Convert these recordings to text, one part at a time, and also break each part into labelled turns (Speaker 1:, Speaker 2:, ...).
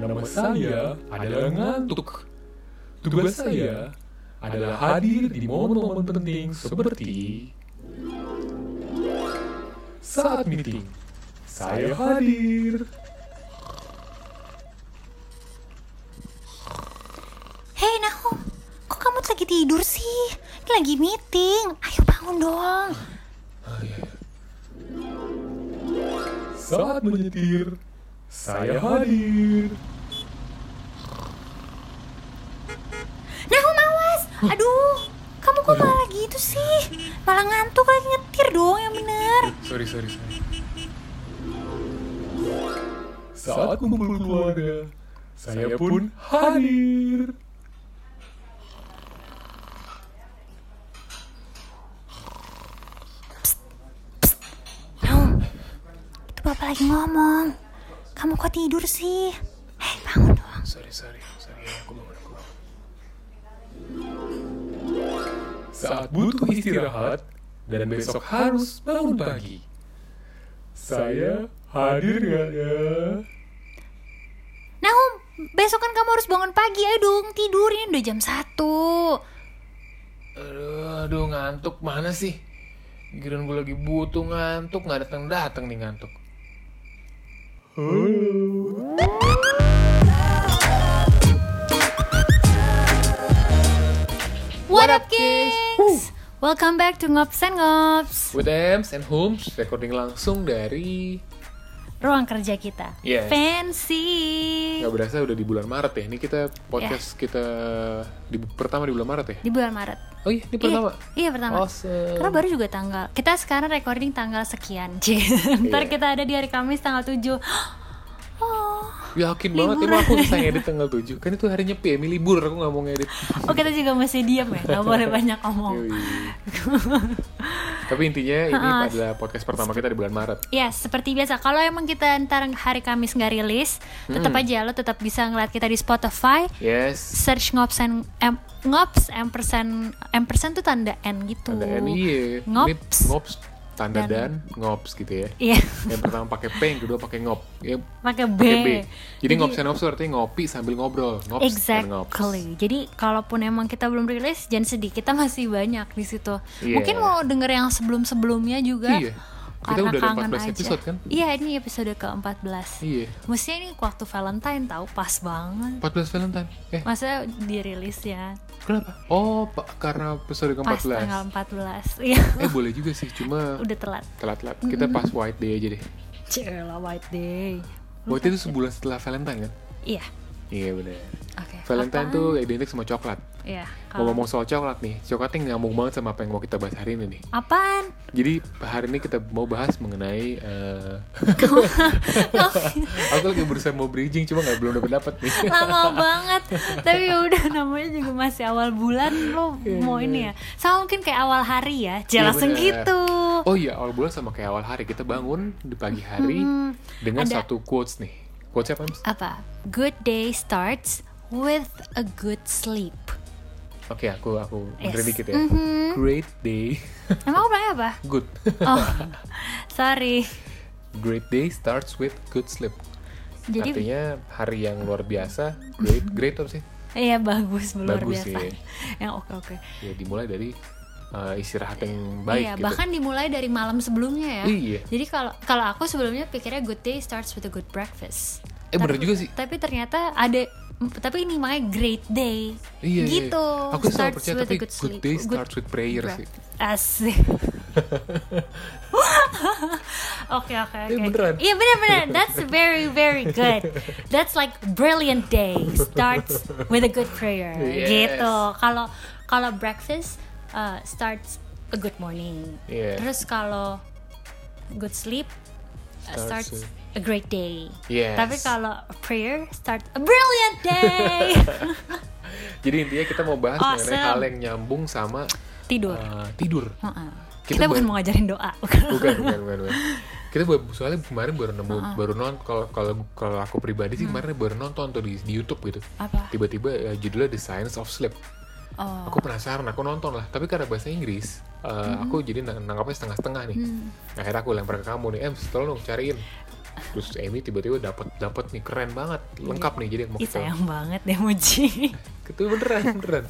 Speaker 1: nama saya adalah ngantuk. Tugas saya adalah hadir di momen-momen penting seperti saat meeting. Saya hadir.
Speaker 2: Hei Nahum, kok kamu tuh lagi tidur sih? Ini lagi meeting, ayo bangun dong
Speaker 1: Saat menyetir, saya hadir.
Speaker 2: Nahum awas, aduh Kamu kok malah gitu sih? Malah ngantuk lagi nyetir dong yang bener
Speaker 1: Sorry, sorry, sorry. Saat kumpul keluarga, saya pun hadir.
Speaker 2: Nahum, itu bapak lagi ngomong Kamu kok tidur sih? Hei bangun dong
Speaker 1: Sorry, sorry, sorry. Aku bangun, aku bangun. Saat butuh istirahat dan besok harus bangun pagi, saya hadir nggak ya?
Speaker 2: Nahum, besok kan kamu harus bangun pagi, ayo dong tidur, ini udah jam 1
Speaker 3: Aduh, aduh ngantuk mana sih? Giliran gue lagi butuh ngantuk, nggak datang datang nih ngantuk.
Speaker 2: What up Kings? Welcome back to Ngops and Ngops
Speaker 3: With Ems and Homes, recording langsung dari
Speaker 2: Ruang kerja kita
Speaker 3: Yes.
Speaker 2: Fancy
Speaker 3: nggak berasa udah di bulan Maret ya. Ini kita podcast kita di pertama di bulan Maret ya.
Speaker 2: Di bulan Maret
Speaker 3: Oh iya, ini pertama. Oh,
Speaker 2: Iya, iya pertama
Speaker 3: Awesome.
Speaker 2: Karena baru juga tanggal Kita sekarang recording tanggal sekian Cie. Ntar
Speaker 3: Iya.
Speaker 2: kita ada di hari Kamis tanggal 7 Oh.
Speaker 3: Yakin banget, emang
Speaker 2: Liburan.
Speaker 3: aku bisa ngedit tanggal 7 Kan itu hari nyepi, Emi libur, aku nggak mau ngedit
Speaker 2: Oh kita juga masih diam ya Gak boleh banyak
Speaker 3: Yoi.
Speaker 2: ngomong
Speaker 3: Tapi intinya ini adalah podcast pertama kita di bulan Maret
Speaker 2: Ya seperti biasa Kalau emang kita ntar hari Kamis nggak rilis Tetap
Speaker 3: Hmm.
Speaker 2: aja lo tetap bisa ngeliat kita di Spotify
Speaker 3: Yes,
Speaker 2: Search ngops and em, ngops ampersand ampersand tuh tanda n gitu.
Speaker 3: tanda N iya Ini
Speaker 2: Ngops.
Speaker 3: Ngops, tanda dan, ngops gitu ya
Speaker 2: Iya,
Speaker 3: Yang pertama pakai P, yang kedua pakai ngop Yang
Speaker 2: pakai B.
Speaker 3: pakai B Jadi ngops and ngops itu artinya ngopi sambil ngobrol Ngops and ngops
Speaker 2: Exactly. Jadi kalaupun emang kita belum rilis, jangan sedih. Kita masih banyak di situ.
Speaker 3: Iya.
Speaker 2: Mungkin mau denger yang sebelum-sebelumnya juga.
Speaker 3: Iya. Kita udah
Speaker 2: karena
Speaker 3: ada 14
Speaker 2: kangen aja.
Speaker 3: episode kan?
Speaker 2: Iya, ini episode ke-14.
Speaker 3: Iya
Speaker 2: Mestinya ini waktu Valentine tahu pas banget.
Speaker 3: 14 Valentine Eh,
Speaker 2: Masa dirilis ya?
Speaker 3: kenapa? Oh, pa- karena episode
Speaker 2: Pas
Speaker 3: ke-14
Speaker 2: tanggal 14. Iya,
Speaker 3: Eh, boleh juga sih, cuma
Speaker 2: udah telat.
Speaker 3: telat-telat Kita pas white day aja deh
Speaker 2: Cela White Day.
Speaker 3: White day itu sebulan setelah Valentine kan?
Speaker 2: Iya.
Speaker 3: Iya benar.
Speaker 2: Oke.
Speaker 3: Valentine
Speaker 2: apaan?
Speaker 3: tuh identik sama coklat.
Speaker 2: Iya. kalau-
Speaker 3: Ngomong-ngomong soal coklat nih, coklatnya nyambung banget sama apa yang mau kita bahas hari ini nih.
Speaker 2: Apaan?
Speaker 3: Jadi hari ini kita mau bahas mengenai eh, aku lagi berusaha mau bridging cuma nggak belum dapat dapat nih.
Speaker 2: lama banget tapi ya udah namanya juga masih awal bulan lo mau ini ya sama mungkin kayak awal hari ya
Speaker 3: Iya,
Speaker 2: jelas langsung
Speaker 3: benar.
Speaker 2: gitu
Speaker 3: Oh iya, awal bulan sama kayak awal hari kita bangun di pagi hari
Speaker 2: Hmm,
Speaker 3: dengan
Speaker 2: ada-
Speaker 3: satu quotes nih. Quotes apa? Mas?
Speaker 2: apa good day starts with a good sleep
Speaker 3: Oke, aku aku
Speaker 2: Yes.
Speaker 3: benerin dikit ya.
Speaker 2: Mhm.
Speaker 3: Great day,
Speaker 2: emang aku bilangnya apa
Speaker 3: good.
Speaker 2: oh sorry
Speaker 3: Great day starts with good sleep.
Speaker 2: jadi
Speaker 3: Artinya hari yang luar biasa, great great apa sih?
Speaker 2: iya bagus luar
Speaker 3: Bagus
Speaker 2: biasa
Speaker 3: sih.
Speaker 2: yang oke oke
Speaker 3: ya dimulai dari uh, istirahat yang baik
Speaker 2: iya
Speaker 3: gitu.
Speaker 2: bahkan dimulai dari malam sebelumnya ya
Speaker 3: Iya.
Speaker 2: jadi kalau kalau aku sebelumnya pikirnya good day starts with a good breakfast
Speaker 3: eh bener juga sih.
Speaker 2: tapi ternyata ada tapi ini makanya great day
Speaker 3: Iya. iya.
Speaker 2: gitu
Speaker 3: Aku selalu percaya
Speaker 2: with a
Speaker 3: tapi good,
Speaker 2: sleep.
Speaker 3: day
Speaker 2: Good
Speaker 3: starts with prayer sih.
Speaker 2: breath. Iya. asik oke oke oke
Speaker 3: Eh, beneran.
Speaker 2: iya bener bener that's very very good that's like brilliant day starts with a good prayer
Speaker 3: Yes.
Speaker 2: gitu kalau kalau breakfast uh, starts a good morning
Speaker 3: Iya.
Speaker 2: terus kalau good sleep uh,
Speaker 3: Starts
Speaker 2: starts
Speaker 3: with-
Speaker 2: a great day.
Speaker 3: Yes.
Speaker 2: Tapi kalau prayer start a brilliant day.
Speaker 3: Jadi intinya kita mau bahas
Speaker 2: Awesome.
Speaker 3: mengenai hal yang nyambung sama
Speaker 2: Oh, Tidur.
Speaker 3: uh, tidur.
Speaker 2: Heeh.
Speaker 3: Kita
Speaker 2: Kita, bukan
Speaker 3: ber-
Speaker 2: mau ngajarin doa. bukan.
Speaker 3: Bukan, bukan, bukan, bukan. Kita buat soalnya kemarin baru nemu, baru non kalau kalau kalau aku pribadi sih
Speaker 2: Hmm.
Speaker 3: kemarin baru nonton tuh di, di YouTube gitu.
Speaker 2: Apa?
Speaker 3: Tiba-tiba uh, judulnya The Science of Sleep.
Speaker 2: Oh. Hmm.
Speaker 3: Aku penasaran, aku nonton lah. Tapi karena bahasa Inggris, eh, uh, aku jadi nang- nangkapnya setengah-setengah nih. Akhirnya aku lempar ke kamu nih, Em, tolong dong cariin. terus Amy tiba-tiba dapat dapat nih keren banget lengkap
Speaker 2: Iya.
Speaker 3: nih jadi mau
Speaker 2: Ih
Speaker 3: kita
Speaker 2: sayang banget deh Moji.
Speaker 3: itu beneran beneran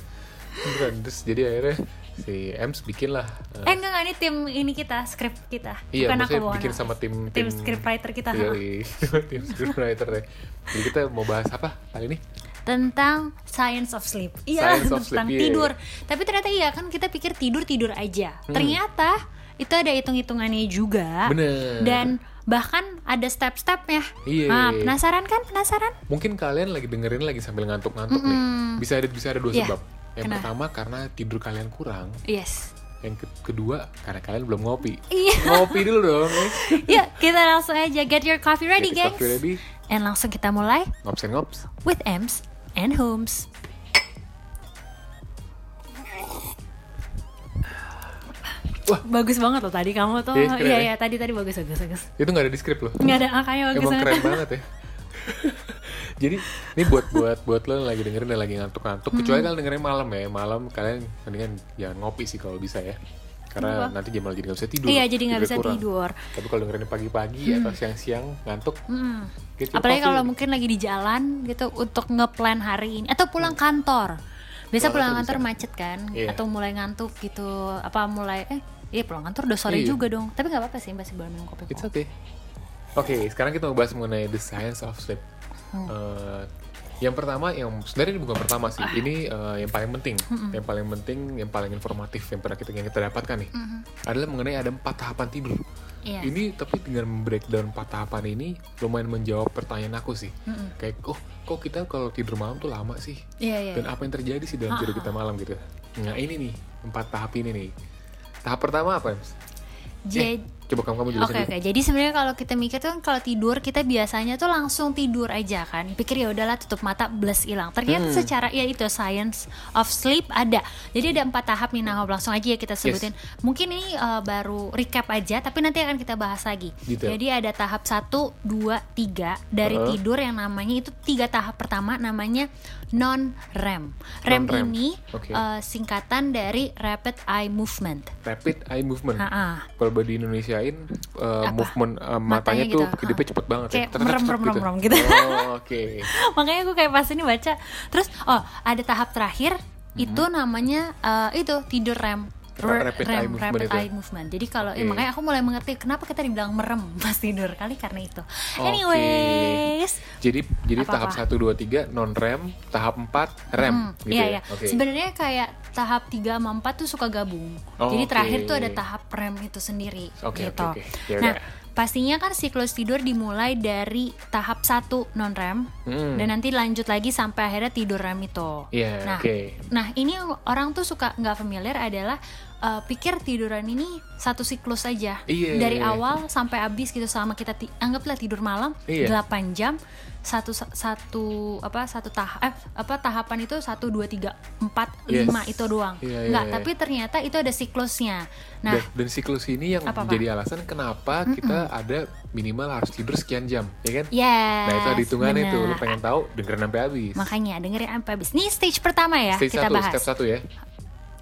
Speaker 3: beneran terus jadi akhirnya si Ems bikin lah eh,
Speaker 2: eh enggak enggak ini tim ini kita, skrip kita.
Speaker 3: Iya,
Speaker 2: Bukan aku
Speaker 3: maksudnya
Speaker 2: bawa
Speaker 3: bikin
Speaker 2: nama.
Speaker 3: sama tim
Speaker 2: tim scriptwriter kita.
Speaker 3: Iya, iya, tim scriptwriter ya. Jadi kita mau bahas apa kali ini?
Speaker 2: tentang science of sleep. Iya,
Speaker 3: Science of sleep,
Speaker 2: tentang
Speaker 3: iya, iya.
Speaker 2: tidur. Tapi ternyata iya kan kita pikir tidur-tidur aja. Ternyata itu ada hitung-hitungannya juga.
Speaker 3: Hmm. Bener.
Speaker 2: Ah, Dan bahkan ada step-stepnya.
Speaker 3: Iya.
Speaker 2: Nah, penasaran kan? Penasaran?
Speaker 3: Mungkin kalian lagi dengerin lagi sambil ngantuk-ngantuk nih. Bisa ada bisa ada dua
Speaker 2: Iya.
Speaker 3: sebab. Yang
Speaker 2: Kenapa?
Speaker 3: pertama karena tidur kalian kurang,
Speaker 2: Yes.
Speaker 3: yang ke- kedua karena kalian belum ngopi.
Speaker 2: Iya.
Speaker 3: Ngopi dulu dong. eh.
Speaker 2: Yuk, kita langsung aja get your coffee ready,
Speaker 3: Get your
Speaker 2: gengs.
Speaker 3: coffee ready.
Speaker 2: And langsung kita mulai
Speaker 3: Ngops and ngops.
Speaker 2: with Ems and Holmes.
Speaker 3: Wah.
Speaker 2: Bagus banget loh tadi kamu tuh.
Speaker 3: Iya, keren
Speaker 2: Iya,
Speaker 3: ya.
Speaker 2: iya, tadi tadi bagus bagus bagus.
Speaker 3: Itu nggak ada di script loh.
Speaker 2: Nggak ada angkanya bagus
Speaker 3: Emang
Speaker 2: banget.
Speaker 3: keren banget ya. Jadi ini buat buat buat lo yang lagi dengerin dan lagi ngantuk-ngantuk,
Speaker 2: Hmm.
Speaker 3: kecuali kalian dengerin malam ya, malam kalian mendingan jangan ngopi sih kalau bisa ya, karena nanti jam malam jadi nggak bisa tidur.
Speaker 2: Iya, jadi nggak
Speaker 3: tidurnya
Speaker 2: bisa
Speaker 3: kurang.
Speaker 2: tidur.
Speaker 3: Tapi kalau dengerin pagi-pagi atau siang-siang ngantuk,
Speaker 2: Hmm.
Speaker 3: gitu,
Speaker 2: Apalagi
Speaker 3: coffee.
Speaker 2: kalau mungkin lagi di jalan gitu untuk ngeplan hari ini atau pulang kantor.
Speaker 3: Pulang
Speaker 2: Biasa pulang
Speaker 3: kantor
Speaker 2: kantor
Speaker 3: bisa.
Speaker 2: macet kan
Speaker 3: Iya.
Speaker 2: atau mulai ngantuk gitu. Apa mulai eh iya pulang kantor udah sore
Speaker 3: Iya.
Speaker 2: juga dong. Tapi nggak apa-apa sih masih boleh minum kopi.
Speaker 3: It's
Speaker 2: kok.
Speaker 3: okay. Oke, sekarang kita mau bahas mengenai the science of sleep.
Speaker 2: Hmm.
Speaker 3: Eh, yang pertama, yang sebenarnya ini bukan pertama sih.
Speaker 2: Ah.
Speaker 3: Ini eh, yang paling penting, yang paling penting, yang paling informatif yang pernah kita yang kita dapatkan nih adalah mengenai ada empat tahapan tidur.
Speaker 2: Iya.
Speaker 3: Ini tapi dengan breakdown empat tahapan ini lumayan menjawab pertanyaan aku sih. Kayak, oh kok kita kalau tidur malam tuh lama sih?
Speaker 2: Iya, iya.
Speaker 3: Dan apa yang terjadi sih dalam tidur kita malam gitu? Nah ini nih empat tahap ini nih. Tahap pertama apa? Ems? Eh,
Speaker 2: Jadi
Speaker 3: coba kamu kamu jelasin
Speaker 2: Oke
Speaker 3: dulu.
Speaker 2: oke. Jadi sebenarnya kalau kita mikir tuh kan kalau tidur kita biasanya tuh langsung tidur aja kan. Pikir ya udahlah tutup mata bless hilang.
Speaker 3: Hmm.
Speaker 2: Ternyata secara ya itu science of sleep ada. Jadi ada empat tahap nih nah langsung aja ya kita sebutin. Mungkin ini eh, baru recap aja tapi nanti akan kita bahas lagi.
Speaker 3: Detail.
Speaker 2: Jadi ada tahap 1, 2, 3 dari
Speaker 3: Uh-uh.
Speaker 2: tidur yang namanya itu tiga tahap pertama namanya non REM. REM
Speaker 3: Non-REM.
Speaker 2: ini
Speaker 3: Oke.
Speaker 2: eh, singkatan dari rapid eye movement.
Speaker 3: rapid eye movement.
Speaker 2: Ha-ha.
Speaker 3: Kalau di Indonesiain uh,
Speaker 2: Apa?
Speaker 3: movement uh,
Speaker 2: Matanya
Speaker 3: matanya,
Speaker 2: gitu,
Speaker 3: tuh
Speaker 2: ha.
Speaker 3: kedipnya cepet banget
Speaker 2: Kayak
Speaker 3: Tet- tet- tet-
Speaker 2: merem, merem, merem gitu.
Speaker 3: Oh, oke.
Speaker 2: makanya gue kayak pas ini baca terus oh ada tahap terakhir itu namanya eh, itu tidur rem
Speaker 3: Ra- Mhm. rapid eye movement
Speaker 2: rapid
Speaker 3: itu ya?
Speaker 2: eye movement. Jadi kalau eh,
Speaker 3: Oke.
Speaker 2: makanya aku mulai mengerti kenapa kita dibilang merem pas tidur kali karena itu.
Speaker 3: Oke.
Speaker 2: Anyways,
Speaker 3: Jadi jadi
Speaker 2: Apa-apa?
Speaker 3: tahap 1 2 3 non rem, tahap 4 rem
Speaker 2: hmm,
Speaker 3: gitu
Speaker 2: iya,
Speaker 3: ya.
Speaker 2: iya.
Speaker 3: Oke.
Speaker 2: Sebenarnya kayak tahap 3 sama 4 tuh suka gabung.
Speaker 3: Oh,
Speaker 2: Jadi
Speaker 3: oke.
Speaker 2: terakhir tuh ada tahap rem itu sendiri
Speaker 3: Oke,
Speaker 2: gitu.
Speaker 3: oke, oke. Ya
Speaker 2: Nah,
Speaker 3: udah.
Speaker 2: pastinya kan siklus tidur dimulai dari tahap 1 non rem
Speaker 3: Hmm.
Speaker 2: dan nanti lanjut lagi sampai akhirnya tidur rem itu.
Speaker 3: Iya,
Speaker 2: nah,
Speaker 3: oke.
Speaker 2: Nah, ini yang orang tuh suka nggak familiar adalah uh, pikir tiduran ini satu siklus aja.
Speaker 3: Iya.
Speaker 2: Dari awal sampai habis gitu selama kita ti- anggaplah tidur malam
Speaker 3: Iya.
Speaker 2: 8 jam satu satu apa satu tahap eh, apa tahapan itu satu dua tiga empat
Speaker 3: Yes.
Speaker 2: lima itu doang
Speaker 3: Iya, iya,
Speaker 2: nggak
Speaker 3: iya.
Speaker 2: tapi ternyata itu ada siklusnya nah Hmm,
Speaker 3: dan, dan siklus ini yang
Speaker 2: Apa-apa?
Speaker 3: jadi alasan kenapa kita ada minimal harus tidur sekian jam, ya kan?
Speaker 2: yes
Speaker 3: Nah, itu ada hitungannya
Speaker 2: bener.
Speaker 3: tuh. Lu pengen tahu dengerin sampai habis.
Speaker 2: makanya dengerin sampai habis ini stage pertama ya
Speaker 3: Stage satu,
Speaker 2: kita bahas
Speaker 3: step satu ya.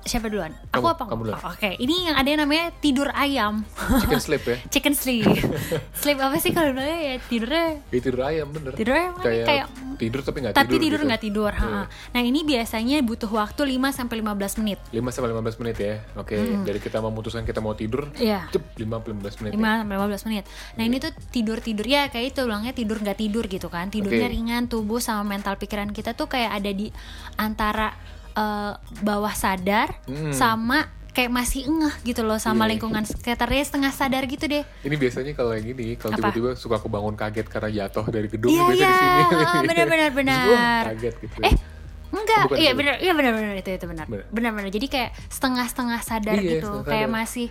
Speaker 2: siapa duluan
Speaker 3: Kamu,
Speaker 2: aku apa
Speaker 3: kamu duluan.
Speaker 2: Oh, oke ini yang ada yang namanya tidur ayam
Speaker 3: Chicken sleep ya.
Speaker 2: chicken sleep sleep apa sih kalau bilangnya ya tidurnya
Speaker 3: Itu Eh, tidur ayam bener.
Speaker 2: Tidur ayam kan
Speaker 3: kayak,
Speaker 2: kayak-
Speaker 3: tidur tapi nggak
Speaker 2: tapi
Speaker 3: tidur.
Speaker 2: tidur
Speaker 3: gitu.
Speaker 2: nggak tidur, ha.
Speaker 3: Iya.
Speaker 2: nah ini biasanya butuh waktu 5 sampai 15 menit
Speaker 3: 5 sampai 15 menit ya. Oke, dari kita memutuskan kita mau tidur,
Speaker 2: Hmm. Iya.
Speaker 3: cep 5 sampai 15 menit.
Speaker 2: 5
Speaker 3: ya.
Speaker 2: sampai 15 menit. Nah, ini tuh tidur-tidur ya kayak itu ulangnya tidur nggak tidur gitu kan. Tidurnya
Speaker 3: Oke.
Speaker 2: ringan, tubuh sama mental pikiran kita tuh kayak ada di antara eh, bawah sadar
Speaker 3: Hmm.
Speaker 2: sama kayak masih ngeh gitu loh sama
Speaker 3: Iya.
Speaker 2: lingkungan sekitarnya setengah sadar gitu deh.
Speaker 3: Ini biasanya kalau yang ini, kalau
Speaker 2: Apa?
Speaker 3: tiba-tiba suka kebangun kaget karena jatuh dari gedung
Speaker 2: Iya,
Speaker 3: biasanya
Speaker 2: iya.
Speaker 3: di sini.
Speaker 2: Ah, benar, benar, benar.
Speaker 3: Terus, wah, kaget gitu.
Speaker 2: Eh, enggak.
Speaker 3: Bukan
Speaker 2: Iya
Speaker 3: itu.
Speaker 2: benar, iya benar-benar itu itu benar.
Speaker 3: Benar.
Speaker 2: Benar-benar. Jadi kayak setengah-setengah sadar
Speaker 3: Iya,
Speaker 2: gitu.
Speaker 3: setengah
Speaker 2: Kayak
Speaker 3: sadar.
Speaker 2: masih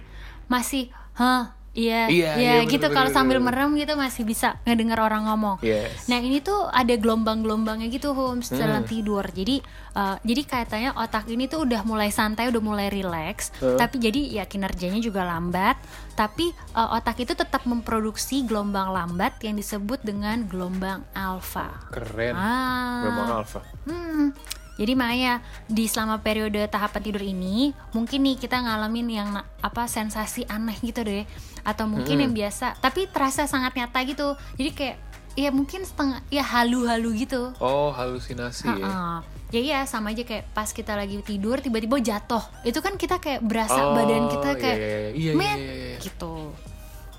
Speaker 2: masih hah, iya,
Speaker 3: Iya, iya, benar,
Speaker 2: gitu
Speaker 3: benar,
Speaker 2: kalau
Speaker 3: benar,
Speaker 2: sambil
Speaker 3: benar.
Speaker 2: merem gitu masih bisa ngedengar orang ngomong.
Speaker 3: Yes.
Speaker 2: Nah, ini tuh ada gelombang-gelombangnya gitu Homes dalam tidur. Jadi eh, jadi katanya otak ini tuh udah mulai santai, udah mulai rileks,
Speaker 3: Heeh.
Speaker 2: tapi jadi ya kinerjanya juga lambat, tapi eh, otak itu tetap memproduksi gelombang lambat yang disebut dengan gelombang alfa.
Speaker 3: Keren.
Speaker 2: Ah.
Speaker 3: Memang alfa.
Speaker 2: Hmm, Jadi makanya di selama periode tahapan tidur ini mungkin nih kita ngalamin yang na- apa sensasi aneh gitu deh atau
Speaker 3: Hmm.
Speaker 2: mungkin yang biasa tapi terasa sangat nyata gitu. Jadi kayak ya mungkin setengah ya halu-halu gitu.
Speaker 3: Oh, halusinasi ya.
Speaker 2: Heeh. Ya iya sama aja kayak pas kita lagi tidur tiba-tiba jatuh. Itu kan kita kayak berasa badan kita
Speaker 3: iya,
Speaker 2: kayak
Speaker 3: iya, iya, iya,
Speaker 2: "Men,"
Speaker 3: iya, iya.
Speaker 2: gitu.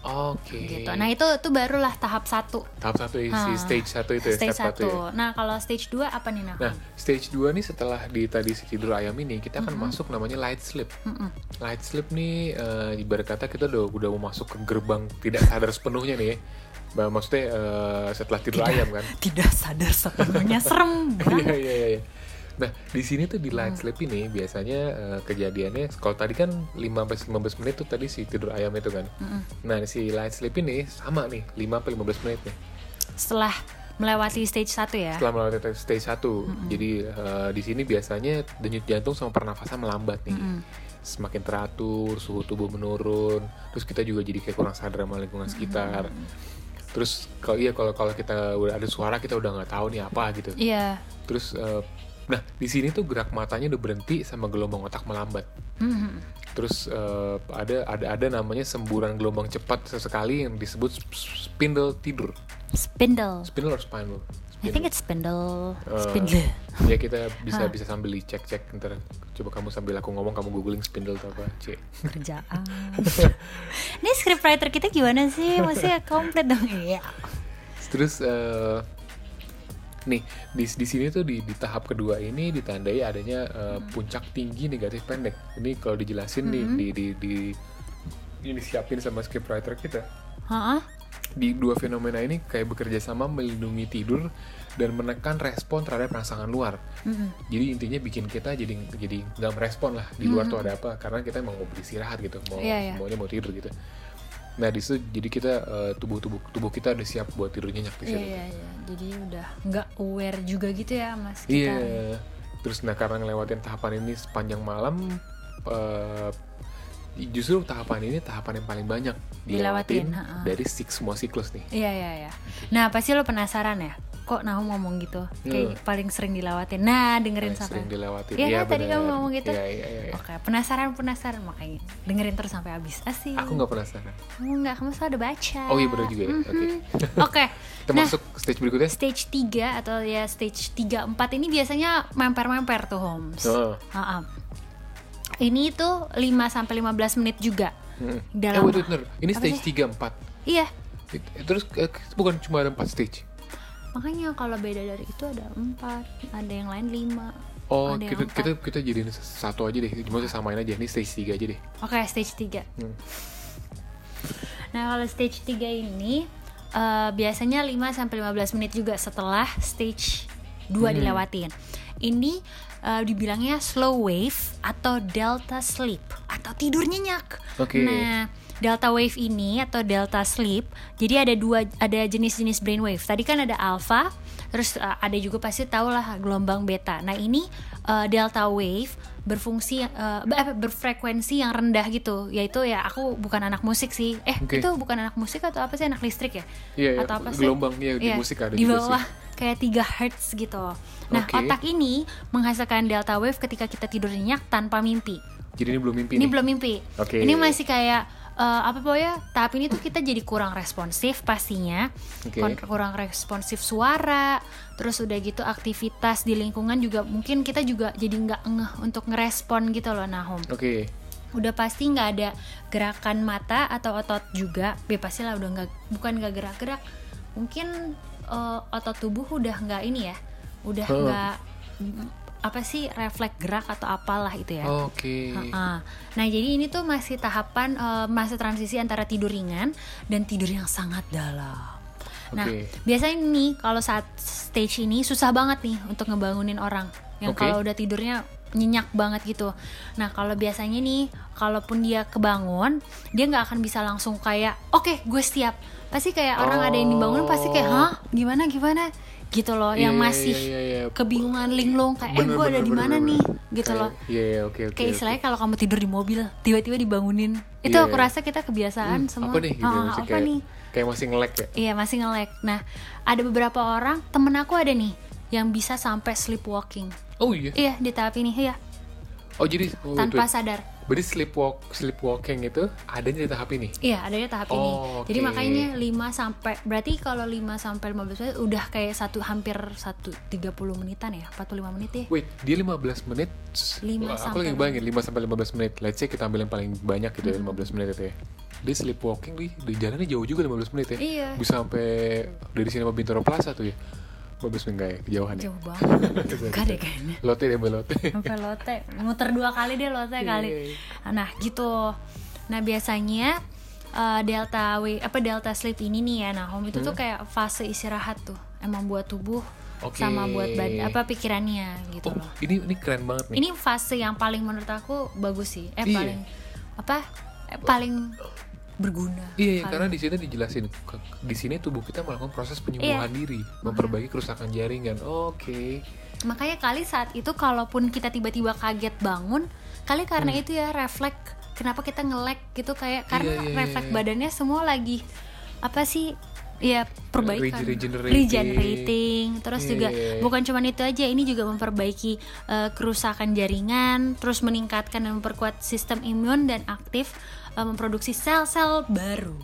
Speaker 3: Oke.
Speaker 2: Gitu. Nah, itu itu barulah tahap satu
Speaker 3: tahap satu isi
Speaker 2: Ah.
Speaker 3: stage satu itu ya,
Speaker 2: stage
Speaker 3: step satu.
Speaker 2: satu.
Speaker 3: ya.
Speaker 2: Nah, kalau stage 2 apa nih, Nah?
Speaker 3: Nah, stage 2 nih setelah di tadi si tidur ayam ini kita akan
Speaker 2: Mm-hmm.
Speaker 3: masuk namanya light sleep.
Speaker 2: Mm-mm.
Speaker 3: Light sleep nih eh, ibarat kata kita udah udah mau masuk ke gerbang tidak sadar sepenuhnya nih ya. Bah- Maksudnya eh, setelah tidur ayam kan.
Speaker 2: Tidak sadar sepenuhnya serem
Speaker 3: Iya
Speaker 2: banget.
Speaker 3: iya iya. Nah, di sini tuh di
Speaker 2: Mm.
Speaker 3: light sleep ini biasanya eh, kejadiannya kalau tadi kan 5 sampai 15 menit tuh tadi si tidur ayam itu kan. Nah, si light sleep ini sama nih 5 sampai 15 menit nih.
Speaker 2: Setelah melewati stage 1 ya.
Speaker 3: setelah melewati stage 1 jadi eh, di sini biasanya denyut jantung sama pernafasan melambat nih semakin teratur suhu tubuh menurun terus kita juga jadi kayak kurang sadar sama lingkungan sekitar terus kalau iya kalau kalau kita udah ada suara kita udah nggak tahu nih apa gitu
Speaker 2: Iya.
Speaker 3: terus eh, nah di sini tuh gerak matanya udah berhenti sama gelombang otak melambat
Speaker 2: Mhm.
Speaker 3: terus eh, ada ada ada namanya semburan gelombang cepat sesekali yang disebut sp- sp- spindle tidur
Speaker 2: Spindle.
Speaker 3: spindle or spinal Spindle.
Speaker 2: I think it's spindle.
Speaker 3: Eh,
Speaker 2: Spindle.
Speaker 3: ya kita bisa bisa sambil dicek cek ntar coba kamu sambil aku ngomong kamu googling spindle atau apa c
Speaker 2: Kerjaan. Ini scriptwriter kita gimana sih? Maksudnya komplit dong. Iya.
Speaker 3: terus eh, nih di di sini tuh di, di tahap kedua ini ditandai adanya eh, puncak tinggi negatif pendek ini kalau dijelasin nih di di di ini disiapin sama scriptwriter kita
Speaker 2: Heeh.
Speaker 3: di dua fenomena ini kayak bekerja sama melindungi tidur dan menekan respon terhadap rangsangan luar. Jadi intinya bikin kita jadi jadi nggak merespon lah di luar tuh ada apa karena kita emang mau beristirahat gitu, mau
Speaker 2: Iya, iya.
Speaker 3: maunya mau tidur gitu. Nah di situ jadi kita eh, tubuh tubuh tubuh kita udah siap buat tidur nyenyak di
Speaker 2: Iya
Speaker 3: situ.
Speaker 2: iya iya. Jadi udah nggak aware juga gitu ya, Mas
Speaker 3: Iya.
Speaker 2: kita.
Speaker 3: Terus nah karena ngelewatin tahapan ini sepanjang malam, eh, justru tahapan ini tahapan yang paling banyak dilewatin
Speaker 2: Dilewatin, ha-ha.
Speaker 3: dari sik- semua siklus nih.
Speaker 2: Iya iya iya. Nah pasti lo penasaran ya, kok Nahu ngomong gitu, kayak
Speaker 3: Hmm.
Speaker 2: paling sering dilewatin. Nah dengerin
Speaker 3: Yang
Speaker 2: sampai.
Speaker 3: sering dilewati.
Speaker 2: Iya kan, tadi kamu ngomong gitu.
Speaker 3: Iya, iya, iya, iya.
Speaker 2: Oke penasaran penasaran makanya dengerin terus sampai habis. Asik.
Speaker 3: Aku nggak penasaran.
Speaker 2: Kamu nggak kamu selalu udah baca.
Speaker 3: Oh iya, bener juga ya. Oke.
Speaker 2: Mhm. Oke.
Speaker 3: Kita
Speaker 2: Nah
Speaker 3: masuk stage berikutnya.
Speaker 2: stage 3 atau ya stage 3 4 ini biasanya memper-memper tuh Holmes.
Speaker 3: Heeh.
Speaker 2: Ha-ha. Ini tuh 5 sampai 15 menit juga.
Speaker 3: Mm. eh,
Speaker 2: Dalam
Speaker 3: wait, wait, bener. Ini
Speaker 2: Apa
Speaker 3: stage
Speaker 2: sih?
Speaker 3: 3 4.
Speaker 2: Iya.
Speaker 3: Terus eh, bukan cuma ada 4 stage.
Speaker 2: Makanya kalau beda dari itu ada 4, ada yang lain 5.
Speaker 3: Oh,
Speaker 2: Ada yang
Speaker 3: kita,
Speaker 2: empat.
Speaker 3: kita kita jadiin satu aja deh. Cuma kita samain aja. Ini stage 3 aja deh.
Speaker 2: Oke, stage 3.
Speaker 3: Hmm.
Speaker 2: Nah, kalau stage 3 ini eh, biasanya 5 sampai 15 menit juga setelah stage 2
Speaker 3: Hmm.
Speaker 2: dilewatin. Ini eh, dibilangnya slow wave atau delta sleep atau tidur nyenyak.
Speaker 3: Oke.
Speaker 2: Nah, delta wave ini atau delta sleep, jadi ada dua ada jenis-jenis brain wave. Tadi kan ada alpha, terus eh, ada juga pasti tahu lah gelombang beta. Nah, ini eh, delta wave berfungsi eh, ber- apa, berfrekuensi yang rendah gitu yaitu ya aku bukan anak musik sih eh
Speaker 3: Oke.
Speaker 2: itu bukan anak musik atau apa sih anak listrik ya
Speaker 3: Iya, iya.
Speaker 2: atau apa sih
Speaker 3: Gelombang, iya, di
Speaker 2: Iya,
Speaker 3: musik ada
Speaker 2: di
Speaker 3: juga sih.
Speaker 2: bawah kayak 3 hertz gitu nah
Speaker 3: Oke.
Speaker 2: otak ini menghasilkan delta wave ketika kita tidur nyenyak tanpa mimpi
Speaker 3: Jadi ini belum mimpi
Speaker 2: ini
Speaker 3: nih.
Speaker 2: belum mimpi.
Speaker 3: Oke.
Speaker 2: Ini masih kayak eh, apa pokoknya tahap ini tuh kita jadi kurang responsif pastinya.
Speaker 3: Oke.
Speaker 2: Kon- Kurang responsif suara, terus udah gitu aktivitas di lingkungan juga mungkin kita juga jadi nggak ngeh untuk ngerespon gitu loh Nahom.
Speaker 3: Oke.
Speaker 2: Udah pasti nggak ada gerakan mata atau otot juga. Ya pastilah udah nggak bukan nggak gerak-gerak. Mungkin eh, otot tubuh udah nggak ini ya. Udah
Speaker 3: Hmm.
Speaker 2: nggak apa sih refleks gerak atau apalah itu ya.
Speaker 3: Oke.
Speaker 2: Ah, Nah, jadi ini tuh masih tahapan eh, masa transisi antara tidur ringan dan tidur yang sangat dalam. Nah,
Speaker 3: Oke.
Speaker 2: biasanya nih kalau saat stage ini susah banget nih untuk ngebangunin orang yang
Speaker 3: Oke.
Speaker 2: kalau udah tidurnya nyenyak banget gitu. Nah, kalau biasanya nih kalaupun dia kebangun, dia nggak akan bisa langsung kayak oke, gue siap. Pasti kayak orang ada yang dibangun pasti kayak,
Speaker 3: Oh.
Speaker 2: "Hah? Gimana gimana?" gitu loh
Speaker 3: Iya,
Speaker 2: yang
Speaker 3: iya,
Speaker 2: masih
Speaker 3: iya, iya.
Speaker 2: kebingungan linglung kayak
Speaker 3: Bener,
Speaker 2: eh gue ada
Speaker 3: bener,
Speaker 2: di
Speaker 3: bener,
Speaker 2: mana
Speaker 3: bener.
Speaker 2: nih gitu
Speaker 3: Kayak-
Speaker 2: loh
Speaker 3: Iya, iya, oke, oke.
Speaker 2: kayak
Speaker 3: oke.
Speaker 2: istilahnya kalau kamu tidur di mobil tiba-tiba dibangunin itu
Speaker 3: Iya.
Speaker 2: aku rasa kita kebiasaan kan semua
Speaker 3: Apa nih? Gitu,
Speaker 2: Ah,
Speaker 3: masih
Speaker 2: apa
Speaker 3: kayak,
Speaker 2: nih
Speaker 3: Kayak masih ngelek ya.
Speaker 2: iya masih ngelek nah ada beberapa orang temen aku ada nih yang bisa sampai sleepwalking.
Speaker 3: Oh iya.
Speaker 2: Iya, di tahap ini ya,
Speaker 3: Oh jadi oh, wait,
Speaker 2: tanpa
Speaker 3: wait.
Speaker 2: sadar.
Speaker 3: Berarti sleepwalk sleepwalking itu adanya di tahap ini.
Speaker 2: Iya, adanya tahap ini.
Speaker 3: Oh,
Speaker 2: Jadi
Speaker 3: oke.
Speaker 2: makanya 5 sampai berarti kalau 5 sampai 15 menit udah kayak satu hampir satu 30 menitan ya, 45 menit ya.
Speaker 3: Wait, dia 15 menit. s- Wah,
Speaker 2: Lima
Speaker 3: aku lagi
Speaker 2: sampai-
Speaker 3: bayangin 5 sampai 15 menit. Let's say kita ambil yang paling banyak gitu ya 15 menit itu ya. Dia sleepwalking di, di jalannya jauh juga 15 menit ya.
Speaker 2: Iya.
Speaker 3: Bisa sampai dari sini sama Bintaro Plaza tuh ya. 15 menit nggak ya kejauhan ya.
Speaker 2: Jauh banget. Enggak deh kayaknya.
Speaker 3: Lote deh Mbak Lote.
Speaker 2: sampai lote muter dua kali deh
Speaker 3: Iya,
Speaker 2: lote kali nah gitu nah biasanya eh, delta w apa delta sleep ini nih ya nah home itu tuh kayak fase istirahat tuh emang buat tubuh
Speaker 3: Hmm. Oke.
Speaker 2: sama buat bad- apa pikirannya gitu
Speaker 3: Oh,
Speaker 2: loh
Speaker 3: ini ini keren banget nih.
Speaker 2: ini fase yang paling menurut aku bagus sih eh
Speaker 3: Iya.
Speaker 2: paling apa eh, paling berguna
Speaker 3: Iya, iya,
Speaker 2: Paling-
Speaker 3: karena di sini dijelasin ke- di sini tubuh kita melakukan proses
Speaker 2: Iya.
Speaker 3: penyembuhan diri, memperbaiki kerusakan jaringan. Oke.
Speaker 2: Makanya kali saat itu kalaupun kita tiba-tiba kaget bangun, kali karena
Speaker 3: Hmm.
Speaker 2: itu ya refleks kenapa kita ngelek gitu kayak karena
Speaker 3: Iya, iya, iya,
Speaker 2: refleks
Speaker 3: iya.
Speaker 2: badannya semua lagi apa sih? Ya perbaikan
Speaker 3: Rege- regenerating.
Speaker 2: Regenerating. terus
Speaker 3: Iya,
Speaker 2: juga
Speaker 3: iya, iya.
Speaker 2: bukan cuman itu aja, ini juga memperbaiki eh, kerusakan jaringan, terus meningkatkan dan memperkuat sistem imun dan aktif eh, memproduksi sel-sel baru.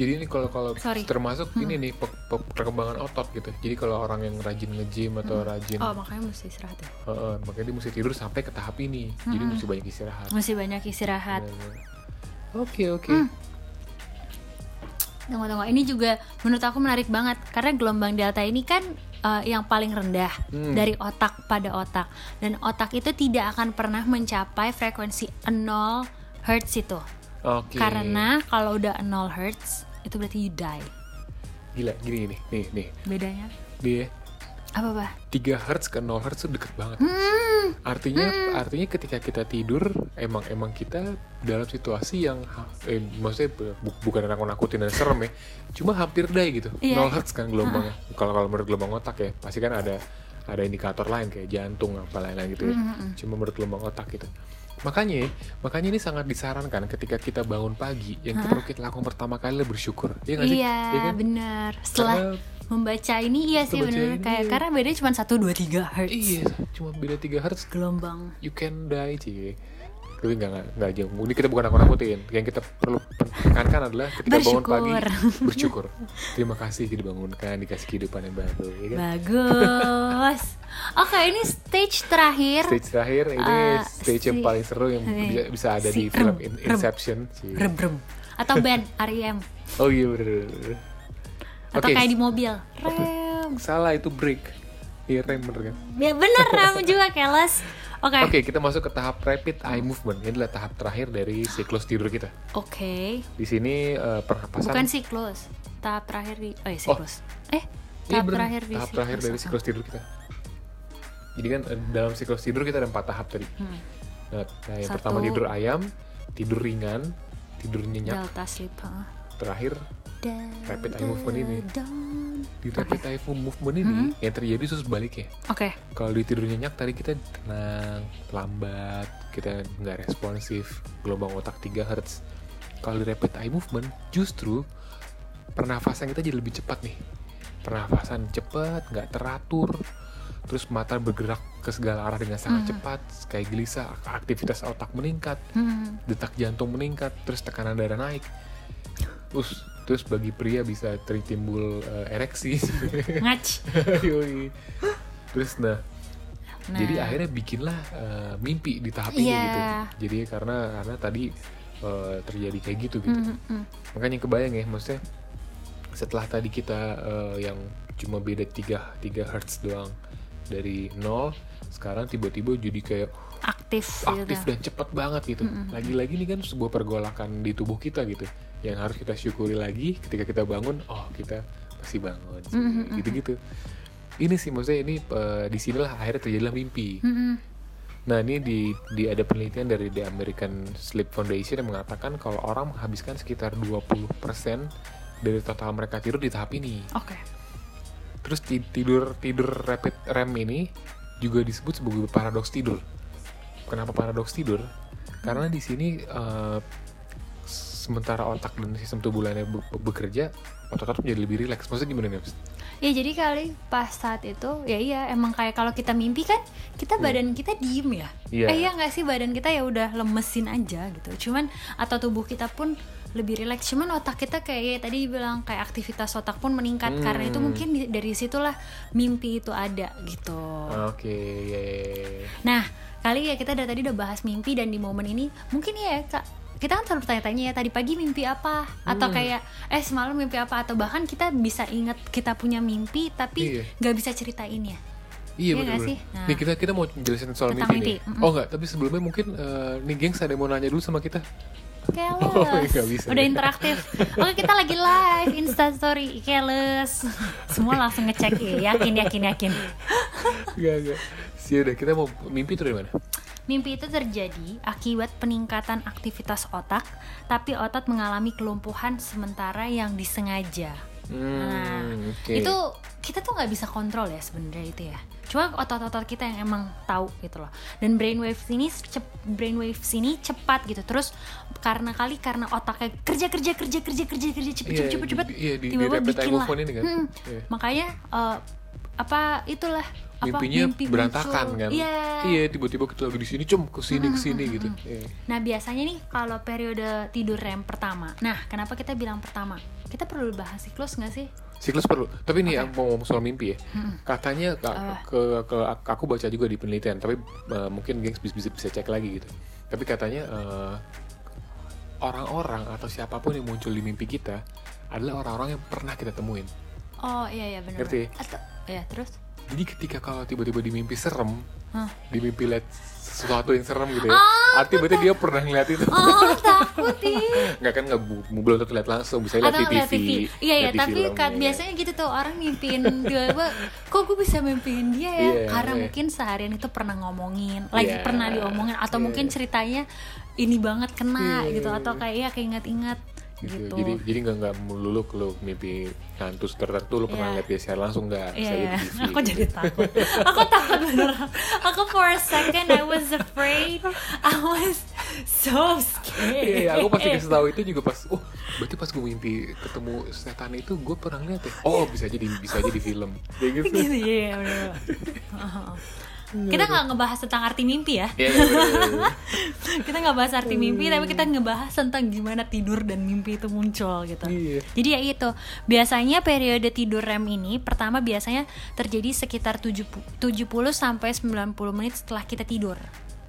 Speaker 3: Jadi ini kalau kalau
Speaker 2: Sorry. Hmm.
Speaker 3: termasuk ini nih pe- pe- perkembangan otot gitu. Jadi kalau orang yang rajin nge-gym atau rajin
Speaker 2: Oh, makanya mesti istirahat ya.
Speaker 3: Heeh, makanya dia mesti tidur sampai ke tahap ini. Jadi
Speaker 2: Hmm.
Speaker 3: mesti banyak istirahat.
Speaker 2: Mesti banyak istirahat.
Speaker 3: Benar-benar. Oke, oke.
Speaker 2: Hmm. Tunggu tunggu, ini juga menurut aku menarik banget karena gelombang delta ini kan eh, yang paling rendah
Speaker 3: Hmm.
Speaker 2: dari otak pada otak dan otak itu tidak akan pernah mencapai frekuensi 0 hertz itu
Speaker 3: Oke.
Speaker 2: karena kalau udah 0 hertz itu berarti you die
Speaker 3: gila gini nih, nih, nih.
Speaker 2: bedanya
Speaker 3: Dia
Speaker 2: apa bah
Speaker 3: 3 Hz ke 0 Hz itu deket banget.
Speaker 2: Hmm.
Speaker 3: Artinya artinya ketika kita tidur emang emang kita dalam situasi yang ha- eh, maksudnya bu- bukan nakut-nakutin dan serem ya. Cuma hampir day gitu.
Speaker 2: Iya.
Speaker 3: 0 Hz kan gelombangnya. Kalau kalau menurut gelombang otak ya, pasti kan ada ada indikator lain kayak jantung apa lain-lain gitu ya.
Speaker 2: Hmm,
Speaker 3: Cuma menurut gelombang otak gitu. Makanya, makanya ini sangat disarankan ketika kita bangun pagi, yang perlu kita lakukan pertama kali adalah bersyukur. Iya nggak sih?
Speaker 2: iya
Speaker 3: Iya kan?
Speaker 2: bener setelah membaca ini iya sih
Speaker 3: Membaca
Speaker 2: bener
Speaker 3: ini,
Speaker 2: kayak
Speaker 3: iya.
Speaker 2: karena bedanya cuma 1, 2, 3 hertz
Speaker 3: Iya, cuma beda 3 Hz
Speaker 2: gelombang
Speaker 3: you can die cie tapi nggak nggak nggak jauh ini kita bukan nakut nakutin yang kita perlu tekankan adalah ketika bangun
Speaker 2: Bersyukur.
Speaker 3: pagi bersyukur terima kasih dibangunkan dikasih kehidupan yang baru ya kan?
Speaker 2: bagus oke ini stage terakhir
Speaker 3: stage terakhir ini
Speaker 2: Eh,
Speaker 3: stage yang
Speaker 2: si-
Speaker 3: paling seru yang
Speaker 2: eh,
Speaker 3: bisa, bisa ada
Speaker 2: si
Speaker 3: di film
Speaker 2: Rem,
Speaker 3: In-
Speaker 2: Rem.
Speaker 3: Inception cie.
Speaker 2: brem brem atau band R.E.M
Speaker 3: oh iya bener bener.
Speaker 2: atau
Speaker 3: Oke,
Speaker 2: kayak di mobil rem
Speaker 3: salah itu break iya rem bener kan
Speaker 2: ya bener rem juga keles oke oke
Speaker 3: Oke, kita masuk ke tahap rapid eye movement. Ini adalah tahap terakhir dari siklus tidur kita. Di sini eh, pernapasan
Speaker 2: bukan siklus tahap terakhir di oh ya siklus eh
Speaker 3: Iya,
Speaker 2: tahap
Speaker 3: bener.
Speaker 2: terakhir di
Speaker 3: tahap terakhir dari siklus tidur kita. Jadi kan eh, dalam siklus tidur kita ada empat tahap tadi.
Speaker 2: Hmm.
Speaker 3: Nah, nah, yang
Speaker 2: Satu.
Speaker 3: pertama tidur ayam, tidur ringan, tidur nyenyak,
Speaker 2: delta sleep heeh.
Speaker 3: terakhir
Speaker 2: Da-
Speaker 3: Rapid eye movement ini.
Speaker 2: down.
Speaker 3: di rapid eye movement ini
Speaker 2: Hmm.
Speaker 3: yang terjadi itu sebaliknya.
Speaker 2: oke
Speaker 3: Kalau di tidur nyenyak tadi kita tenang, lambat, kita nggak responsif, gelombang otak 3 Hz. Kalau di rapid eye movement justru pernafasan kita jadi lebih cepat nih. Pernafasan cepat, nggak teratur, terus mata bergerak ke segala arah dengan sangat cepat, kayak gelisah, aktivitas otak meningkat,
Speaker 2: Hmm.
Speaker 3: detak jantung meningkat, terus tekanan darah naik. Terus, terus bagi pria bisa tertimbul eh, ereksi.
Speaker 2: ngac
Speaker 3: Yoi. Terus nah,
Speaker 2: Nah.
Speaker 3: jadi akhirnya bikinlah eh, mimpi di tahap ini
Speaker 2: Iya.
Speaker 3: gitu. Jadi karena karena tadi eh, terjadi kayak gitu gitu. Makanya kebayang ya maksudnya setelah tadi kita eh, yang cuma beda 3 3 hertz doang dari nol sekarang tiba-tiba jadi kayak
Speaker 2: aktif
Speaker 3: aktif
Speaker 2: gitu.
Speaker 3: dan cepat banget gitu. Lagi-lagi ini kan sebuah pergolakan di tubuh kita gitu yang harus kita syukuri lagi ketika kita bangun, oh kita pasti bangun. sih. Gitu-gitu. Ini sih maksudnya ini eh, disinilah akhirnya terjadilah mimpi.
Speaker 2: Mm-mm.
Speaker 3: Nah, ini di, di ada penelitian dari The American Sleep Foundation yang mengatakan kalau orang menghabiskan sekitar 20% dari total mereka tidur di tahap ini.
Speaker 2: oke
Speaker 3: Terus ti- tidur tidur rapid REM ini juga disebut sebagai paradoks tidur. Kenapa paradoks tidur? Karena di sini eh, sementara otak dan sistem tubuh lainnya be- be- bekerja, otot-otot menjadi lebih rileks. Maksudnya gimana nih? Fis?
Speaker 2: Ya jadi kali pas saat itu ya iya emang kayak kalau kita mimpi kan kita badan kita diem ya.
Speaker 3: Iya.
Speaker 2: Eh iya nggak sih badan kita ya udah lemesin aja gitu. Cuman atau tubuh kita pun lebih rileks. Cuman otak kita kayak ya tadi bilang kayak aktivitas otak pun meningkat karena itu mungkin di- dari situlah mimpi itu ada gitu.
Speaker 3: Oke, ya, ya, ya.
Speaker 2: Nah, kali ya kita dari tadi udah bahas mimpi dan di momen ini mungkin ya Kak, kita kan selalu bertanya-tanya ya tadi pagi mimpi apa atau
Speaker 3: Hmm.
Speaker 2: kayak eh semalam mimpi apa atau bahkan kita bisa ingat kita punya mimpi tapi
Speaker 3: Iya.
Speaker 2: nggak bisa ceritain ya.
Speaker 3: Iya
Speaker 2: Iya
Speaker 3: benar
Speaker 2: nggak sih?
Speaker 3: benar.
Speaker 2: Nah.
Speaker 3: Nih kita kita mau jelasin soal
Speaker 2: Tentang
Speaker 3: mimpi, nih.
Speaker 2: mimpi, mm-mm.
Speaker 3: Oh enggak, tapi sebelumnya mungkin eh, nih gengs ada yang mau nanya dulu sama kita.
Speaker 2: Keles.
Speaker 3: Oh, nggak bisa
Speaker 2: Udah
Speaker 3: ya.
Speaker 2: interaktif. Oke, kita lagi live Insta story Keles. Semua langsung ngecek ya, yakin yakin yakin.
Speaker 3: Enggak, enggak. Sih udah kita mau mimpi itu dari mana?
Speaker 2: Mimpi itu terjadi akibat peningkatan aktivitas otak, tapi otot mengalami kelumpuhan sementara yang disengaja.
Speaker 3: Hmm, oke.
Speaker 2: Nah, Itu kita tuh nggak bisa kontrol ya sebenarnya itu ya. Cuma otot-otot kita yang emang tahu gitu loh. Dan brainwave sini cep- brainwave sini cepat gitu. Terus karena kali karena otaknya kerja kerja kerja kerja kerja kerja cepet
Speaker 3: Iya,
Speaker 2: cepet cepet cepet
Speaker 3: di- iya, di- di
Speaker 2: tiba-tiba
Speaker 3: rapid
Speaker 2: bikin
Speaker 3: eye
Speaker 2: lah.
Speaker 3: movement ini kan?
Speaker 2: Hmm,
Speaker 3: Iya.
Speaker 2: Makanya eh, apa itulah apa,
Speaker 3: Mimpinya
Speaker 2: mimpi
Speaker 3: berantakan
Speaker 2: muncul.
Speaker 3: kan?
Speaker 2: Iya.
Speaker 3: Iya, tiba-tiba kita lagi di sini, cum ke sini ke sini gitu. Iya.
Speaker 2: Nah biasanya nih kalau periode tidur REM pertama. Nah kenapa kita bilang pertama? Kita perlu bahas siklus nggak sih?
Speaker 3: Siklus perlu. Tapi nih yang mau ngomong soal mimpi ya. Katanya ka-
Speaker 2: Apa?
Speaker 3: ke, ke, aku baca juga di penelitian, tapi eh, mungkin gengs bisa, bisa bisa cek lagi gitu. Tapi katanya eh, orang-orang atau siapapun yang muncul di mimpi kita adalah orang-orang yang pernah kita temuin.
Speaker 2: Oh iya iya benar.
Speaker 3: Ngerti.
Speaker 2: Atau ya terus?
Speaker 3: Jadi ketika kalau tiba-tiba di mimpi serem,
Speaker 2: Hah. Ah,
Speaker 3: di mimpi lihat sesuatu yang serem gitu ya. artinya berarti dia pernah ngeliat itu.
Speaker 2: Oh takut iya. ih.
Speaker 3: nggak kan nggak bu- belum tentu lihat langsung bisa lihat
Speaker 2: Atau
Speaker 3: di
Speaker 2: lihat
Speaker 3: TV,
Speaker 2: TV. Iya iya,
Speaker 3: lihat di
Speaker 2: tapi
Speaker 3: film,
Speaker 2: kan
Speaker 3: iya.
Speaker 2: biasanya gitu tuh orang mimpiin tiba-tiba kok gue bisa mimpiin dia ya?
Speaker 3: Iya,
Speaker 2: Karena
Speaker 3: iya.
Speaker 2: mungkin seharian itu pernah ngomongin, lagi
Speaker 3: Iya,
Speaker 2: pernah diomongin atau
Speaker 3: iya.
Speaker 2: mungkin ceritanya ini banget kena
Speaker 3: Iya.
Speaker 2: gitu atau kayak ya keinget-inget
Speaker 3: gitu.
Speaker 2: gitu.
Speaker 3: jadi jadi nggak nggak melulu lo mimpi hantu tertentu lo pernah
Speaker 2: Iya.
Speaker 3: lihat dia secara langsung nggak bisa
Speaker 2: Iya,
Speaker 3: lihat
Speaker 2: iya.
Speaker 3: di TV
Speaker 2: aku jadi takut. Aku takut beneran. Aku for a second I was afraid. I was so scared.
Speaker 3: Iya, iya, aku pasti kasih tahu itu juga pas, oh, berarti pas gue mimpi ketemu setan itu gue pernah lihat ya. Oh, bisa jadi bisa jadi film. Kayak gitu.
Speaker 2: gitu iya, bener. kita nggak ngebahas tentang arti mimpi ya
Speaker 3: Iya, iya, iya, iya.
Speaker 2: kita nggak bahas arti mimpi tapi kita ngebahas tentang gimana tidur dan mimpi itu muncul gitu
Speaker 3: Iya.
Speaker 2: jadi ya itu biasanya periode tidur REM ini pertama biasanya terjadi sekitar 70 70 sampai 90 menit setelah kita tidur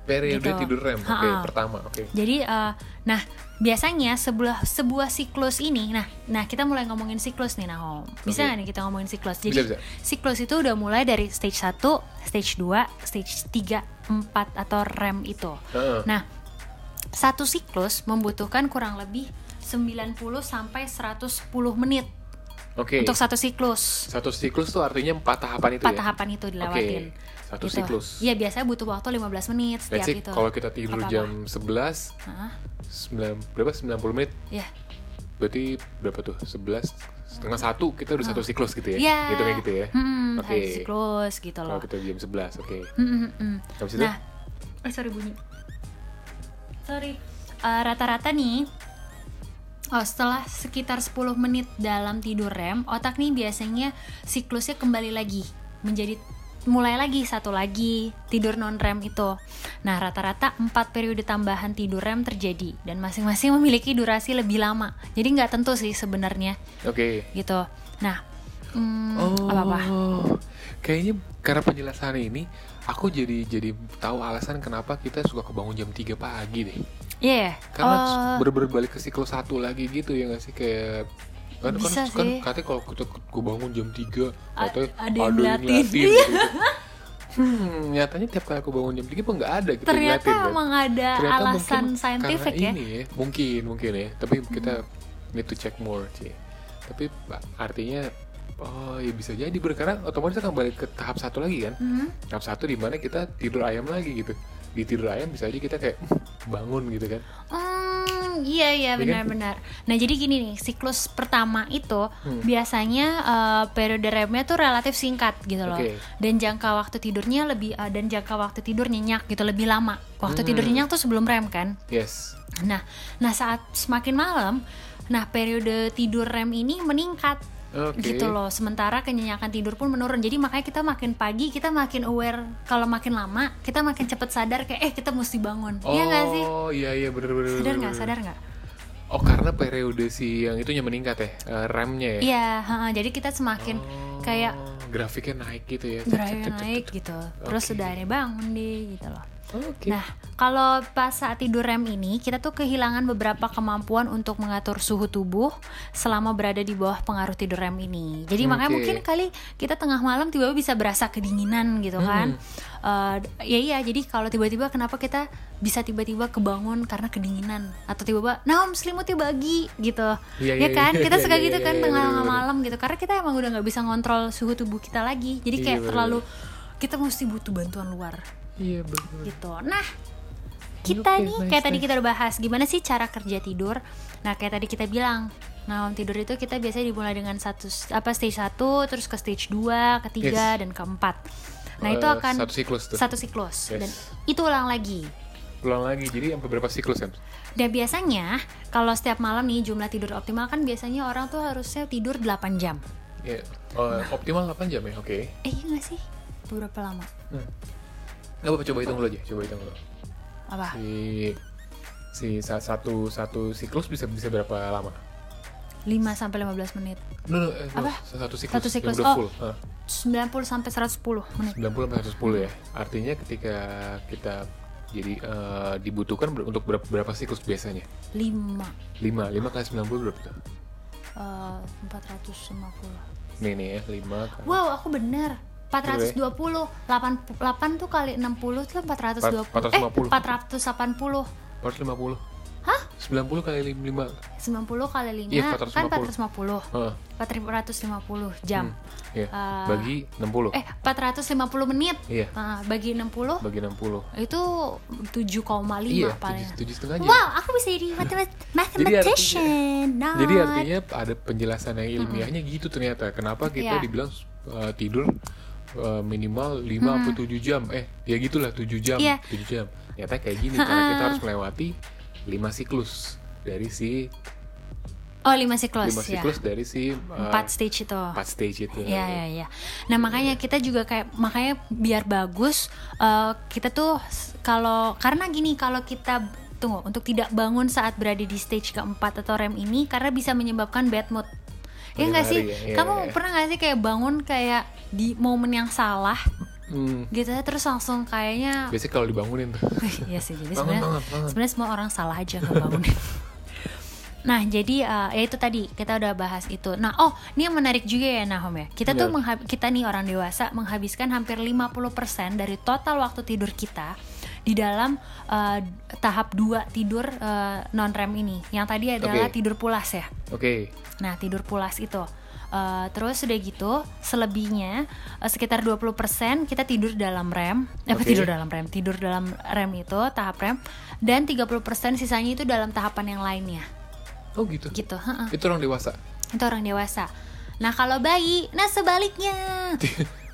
Speaker 3: Periode
Speaker 2: Gitu.
Speaker 3: tidur rem, oke,
Speaker 2: Ha-ha.
Speaker 3: pertama, oke.
Speaker 2: jadi eh, nah biasanya sebuah sebuah siklus ini nah nah kita mulai ngomongin siklus nih Nahom
Speaker 3: Oke.
Speaker 2: bisa nggak nih kita ngomongin siklus jadi
Speaker 3: Bisa, bisa.
Speaker 2: siklus itu udah mulai dari stage 1 stage 2 stage 3 4 atau REM itu
Speaker 3: Heeh.
Speaker 2: nah satu siklus membutuhkan kurang lebih 90 sampai 110 menit
Speaker 3: Oke.
Speaker 2: untuk satu siklus
Speaker 3: Satu siklus tuh artinya empat tahapan itu
Speaker 2: empat
Speaker 3: ya.
Speaker 2: tahapan itu dilewatin
Speaker 3: Oke, satu
Speaker 2: Gitu.
Speaker 3: siklus.
Speaker 2: Iya biasanya butuh waktu 15 menit setiap
Speaker 3: Let's see,
Speaker 2: itu
Speaker 3: kalau kita tidur
Speaker 2: Apa-apa?
Speaker 3: jam 11,
Speaker 2: Hah?
Speaker 3: 9, berapa? 90 menit
Speaker 2: Iya.
Speaker 3: berarti berapa tuh 11 setengah satu kita udah satu siklus gitu ya
Speaker 2: Iya.
Speaker 3: gitu kayak gitu ya
Speaker 2: Hmm,
Speaker 3: oke
Speaker 2: satu siklus gitu
Speaker 3: kalau
Speaker 2: loh.
Speaker 3: kita jam 11 oke
Speaker 2: Hmm, hmm, hmm.
Speaker 3: habis itu
Speaker 2: Nah, eh sorry bunyi. Sorry. Eh, Rata-rata nih Oh, setelah sekitar 10 menit dalam tidur REM, otak nih biasanya siklusnya kembali lagi menjadi mulai lagi satu lagi tidur non REM itu. Nah, rata-rata 4 periode tambahan tidur REM terjadi dan masing-masing memiliki durasi lebih lama. Jadi nggak tentu sih sebenarnya
Speaker 3: oke Oh,
Speaker 2: gitu. Nah, hmm, apa-apa?
Speaker 3: kayaknya karena penjelasan ini aku jadi jadi tahu alasan kenapa kita suka kebangun jam 3 pagi deh
Speaker 2: Iya.
Speaker 3: karena
Speaker 2: Oh,
Speaker 3: bener-bener balik ke siklus satu lagi gitu ya nggak sih kayak kan
Speaker 2: Bisa
Speaker 3: kan, kan
Speaker 2: sih.
Speaker 3: katanya kalau kita gue bangun jam 3
Speaker 2: A-
Speaker 3: katanya
Speaker 2: ada yang ngeliatin.
Speaker 3: gitu. hmm nyatanya tiap kali aku bangun jam 3 apa nggak ada gitu yang
Speaker 2: ternyata
Speaker 3: ngeliatin, kan?
Speaker 2: emang ada
Speaker 3: Ternyata
Speaker 2: alasan
Speaker 3: mungkin
Speaker 2: saintifik
Speaker 3: karena
Speaker 2: ya. Hmm.
Speaker 3: ini ya mungkin mungkin ya tapi kita need to check more sih tapi artinya oh ya bisa jadi ber- karena otomatis akan balik ke tahap satu lagi kan
Speaker 2: Hmm.
Speaker 3: tahap satu di mana kita tidur ayam lagi "Hmm, gitu di tidur ayam bisa aja kita kayak bangun gitu kan
Speaker 2: Hmm, iya iya
Speaker 3: kan?
Speaker 2: benar-benar. Nah jadi gini nih siklus pertama itu
Speaker 3: Hmm.
Speaker 2: biasanya eh, periode REM-nya tuh relatif singkat gitu loh.
Speaker 3: Oke.
Speaker 2: Dan jangka waktu tidurnya lebih eh, dan jangka waktu tidur nyenyak gitu lebih lama. Waktu tidur
Speaker 3: Hmm.
Speaker 2: nyenyak tuh sebelum REM kan.
Speaker 3: Yes.
Speaker 2: Nah, nah saat semakin malam, nah periode tidur REM ini meningkat.
Speaker 3: Oke.
Speaker 2: Gitu loh. Sementara kenyenyakan tidur pun menurun. Jadi makanya kita makin pagi kita makin aware. Kalau makin lama kita makin cepat sadar kayak eh kita mesti bangun. Iya nggak sih?
Speaker 3: Oh iya iya bener bener.
Speaker 2: Sadar
Speaker 3: bener,
Speaker 2: nggak?
Speaker 3: bener.
Speaker 2: Sadar nggak?
Speaker 3: Oh karena periode si yang itunya meningkat ya, eh, remnya ya.
Speaker 2: Iya. heeh. jadi kita semakin kayak
Speaker 3: Oh, grafiknya naik gitu ya.
Speaker 2: drive naik gitu. Terus
Speaker 3: Oke.
Speaker 2: udah ini bangun deh gitu loh.
Speaker 3: Oke.
Speaker 2: Nah, kalau pas saat tidur REM ini, kita tuh kehilangan beberapa kemampuan untuk mengatur suhu tubuh selama berada di bawah pengaruh tidur REM ini. Jadi
Speaker 3: Hmm,
Speaker 2: makanya
Speaker 3: oke.
Speaker 2: mungkin kali kita tengah malam tiba-tiba bisa berasa kedinginan gitu
Speaker 3: Hmm.
Speaker 2: kan. Eh, ya iya, jadi kalau tiba-tiba kenapa kita bisa tiba-tiba kebangun karena kedinginan atau tiba-tiba naom selimutnya bagi gitu.
Speaker 3: Iya,
Speaker 2: ya
Speaker 3: iya,
Speaker 2: kan?
Speaker 3: iya, iya,
Speaker 2: Kita suka
Speaker 3: iya,
Speaker 2: gitu
Speaker 3: iya,
Speaker 2: kan
Speaker 3: iya,
Speaker 2: tengah
Speaker 3: bener-bener.
Speaker 2: malam gitu karena kita emang udah nggak bisa ngontrol suhu tubuh kita lagi. Jadi
Speaker 3: Iya,
Speaker 2: kayak
Speaker 3: bener-bener.
Speaker 2: terlalu kita mesti butuh bantuan luar
Speaker 3: Iya bener.
Speaker 2: gitu. Nah, kita
Speaker 3: Oke,
Speaker 2: nih
Speaker 3: nice,
Speaker 2: kayak tadi
Speaker 3: nice.
Speaker 2: kita udah bahas gimana sih cara kerja tidur. Nah, kayak tadi kita bilang, nah malam tidur itu kita biasanya dimulai dengan satu apa stage 1, terus ke stage 2, ketiga
Speaker 3: Yes.
Speaker 2: dan keempat. Nah, itu
Speaker 3: Eh,
Speaker 2: akan
Speaker 3: satu siklus tuh.
Speaker 2: satu
Speaker 3: Yes.
Speaker 2: siklus. dan itu ulang lagi.
Speaker 3: Ulang lagi jadi sampai berapa siklus kan?
Speaker 2: Dan biasanya kalau setiap malam nih jumlah tidur optimal kan biasanya orang tuh harusnya tidur 8 jam.
Speaker 3: Iya. Oh, Optimal 8 jam ya, oke.
Speaker 2: Eh, iya gak sih? Berapa lama?
Speaker 3: Gak apa-apa, coba hitung dulu aja, coba hitung dulu.
Speaker 2: Apa?
Speaker 3: Si si sa- satu satu siklus bisa bisa berapa lama?
Speaker 2: 5 sampai 15 menit.
Speaker 3: No, no, eh, no,
Speaker 2: Apa?
Speaker 3: satu siklus,
Speaker 2: Satu
Speaker 3: yang
Speaker 2: siklus,
Speaker 3: udah
Speaker 2: oh.
Speaker 3: full. Hah.
Speaker 2: 90 sampai 110 menit.
Speaker 3: 90 sampai 110 ya. Artinya ketika kita jadi eh, dibutuhkan ber- untuk berapa, berapa siklus biasanya?
Speaker 2: 5
Speaker 3: 5, 5 kali 90 berapa tuh?
Speaker 2: Eh, 450.
Speaker 3: Nih nih ya, 5 kali
Speaker 2: Wow, aku bener. 420. 8 8 tuh kali 60 tuh
Speaker 3: 450.
Speaker 2: 420. Eh, 480.
Speaker 3: 450.
Speaker 2: Hah?
Speaker 3: 90 kali 5.
Speaker 2: 90 kali 5
Speaker 3: Iya,
Speaker 2: kan
Speaker 3: 450.
Speaker 2: 450.
Speaker 3: Heeh.
Speaker 2: 450 jam.
Speaker 3: Iya.
Speaker 2: Ah.
Speaker 3: bagi 60.
Speaker 2: Eh, 450 menit.
Speaker 3: Oh. Iya.
Speaker 2: Ah, bagi 60
Speaker 3: Bagi 60.
Speaker 2: itu 7,5
Speaker 3: Iya,
Speaker 2: paling.
Speaker 3: 7 setengah jam.
Speaker 2: Wow, aku bisa jadi mathemat- mathematician. Nah,
Speaker 3: Jadi artinya ada penjelasan yang ilmiahnya gitu ternyata. Kenapa kita
Speaker 2: Iya.
Speaker 3: dibilang uh, tidur uh, minimal 5 atau 7 jam. Eh, ya gitulah 7 jam,
Speaker 2: Iya.
Speaker 3: 7 jam. Ternyata kayak gini karena kita harus melewati 5 siklus dari si
Speaker 2: Oh, 5 siklus
Speaker 3: 5
Speaker 2: ya.
Speaker 3: siklus dari si uh,
Speaker 2: 4 stage itu.
Speaker 3: 4 stage itu.
Speaker 2: Iya iya iya. Nah makanya kita juga kayak makanya biar bagus eh, kita tuh s- kalau karena gini kalau kita tunggu untuk tidak bangun saat berada di stage keempat atau rem ini karena bisa menyebabkan bad mood. Ya nggak sih?
Speaker 3: Menarik ya, iya,
Speaker 2: Kamu
Speaker 3: iya.
Speaker 2: pernah nggak sih kayak bangun kayak di momen yang salah
Speaker 3: Hmm,
Speaker 2: gitu ya, terus langsung kayaknya
Speaker 3: biasanya kalau dibangunin tuh.
Speaker 2: Iya sih, jadi
Speaker 3: Bangun,
Speaker 2: sebenarnya
Speaker 3: bangun, bangun.
Speaker 2: sebenarnya semua orang salah aja ngebangunin. Nah, jadi eh, ya itu tadi kita udah bahas itu. Nah, oh, ini yang menarik juga ya Nahom ya. Kita tuh
Speaker 3: Iya.
Speaker 2: mengha- kita nih orang dewasa menghabiskan hampir 50% dari total waktu tidur kita di dalam eh, tahap 2 tidur non REM ini. Yang tadi adalah
Speaker 3: Oke.
Speaker 2: tidur pulas ya.
Speaker 3: Oke.
Speaker 2: Nah, tidur pulas itu. Eh, terus udah gitu, selebihnya eh, sekitar 20% kita tidur dalam REM. Eh, apa
Speaker 3: Oke.
Speaker 2: tidur dalam REM? Tidur dalam REM itu tahap REM dan 30% sisanya itu dalam tahapan yang lainnya.
Speaker 3: Oh gitu.
Speaker 2: Gitu, heeh.
Speaker 3: Itu orang dewasa.
Speaker 2: Itu orang dewasa. Nah, kalau bayi, nah sebaliknya.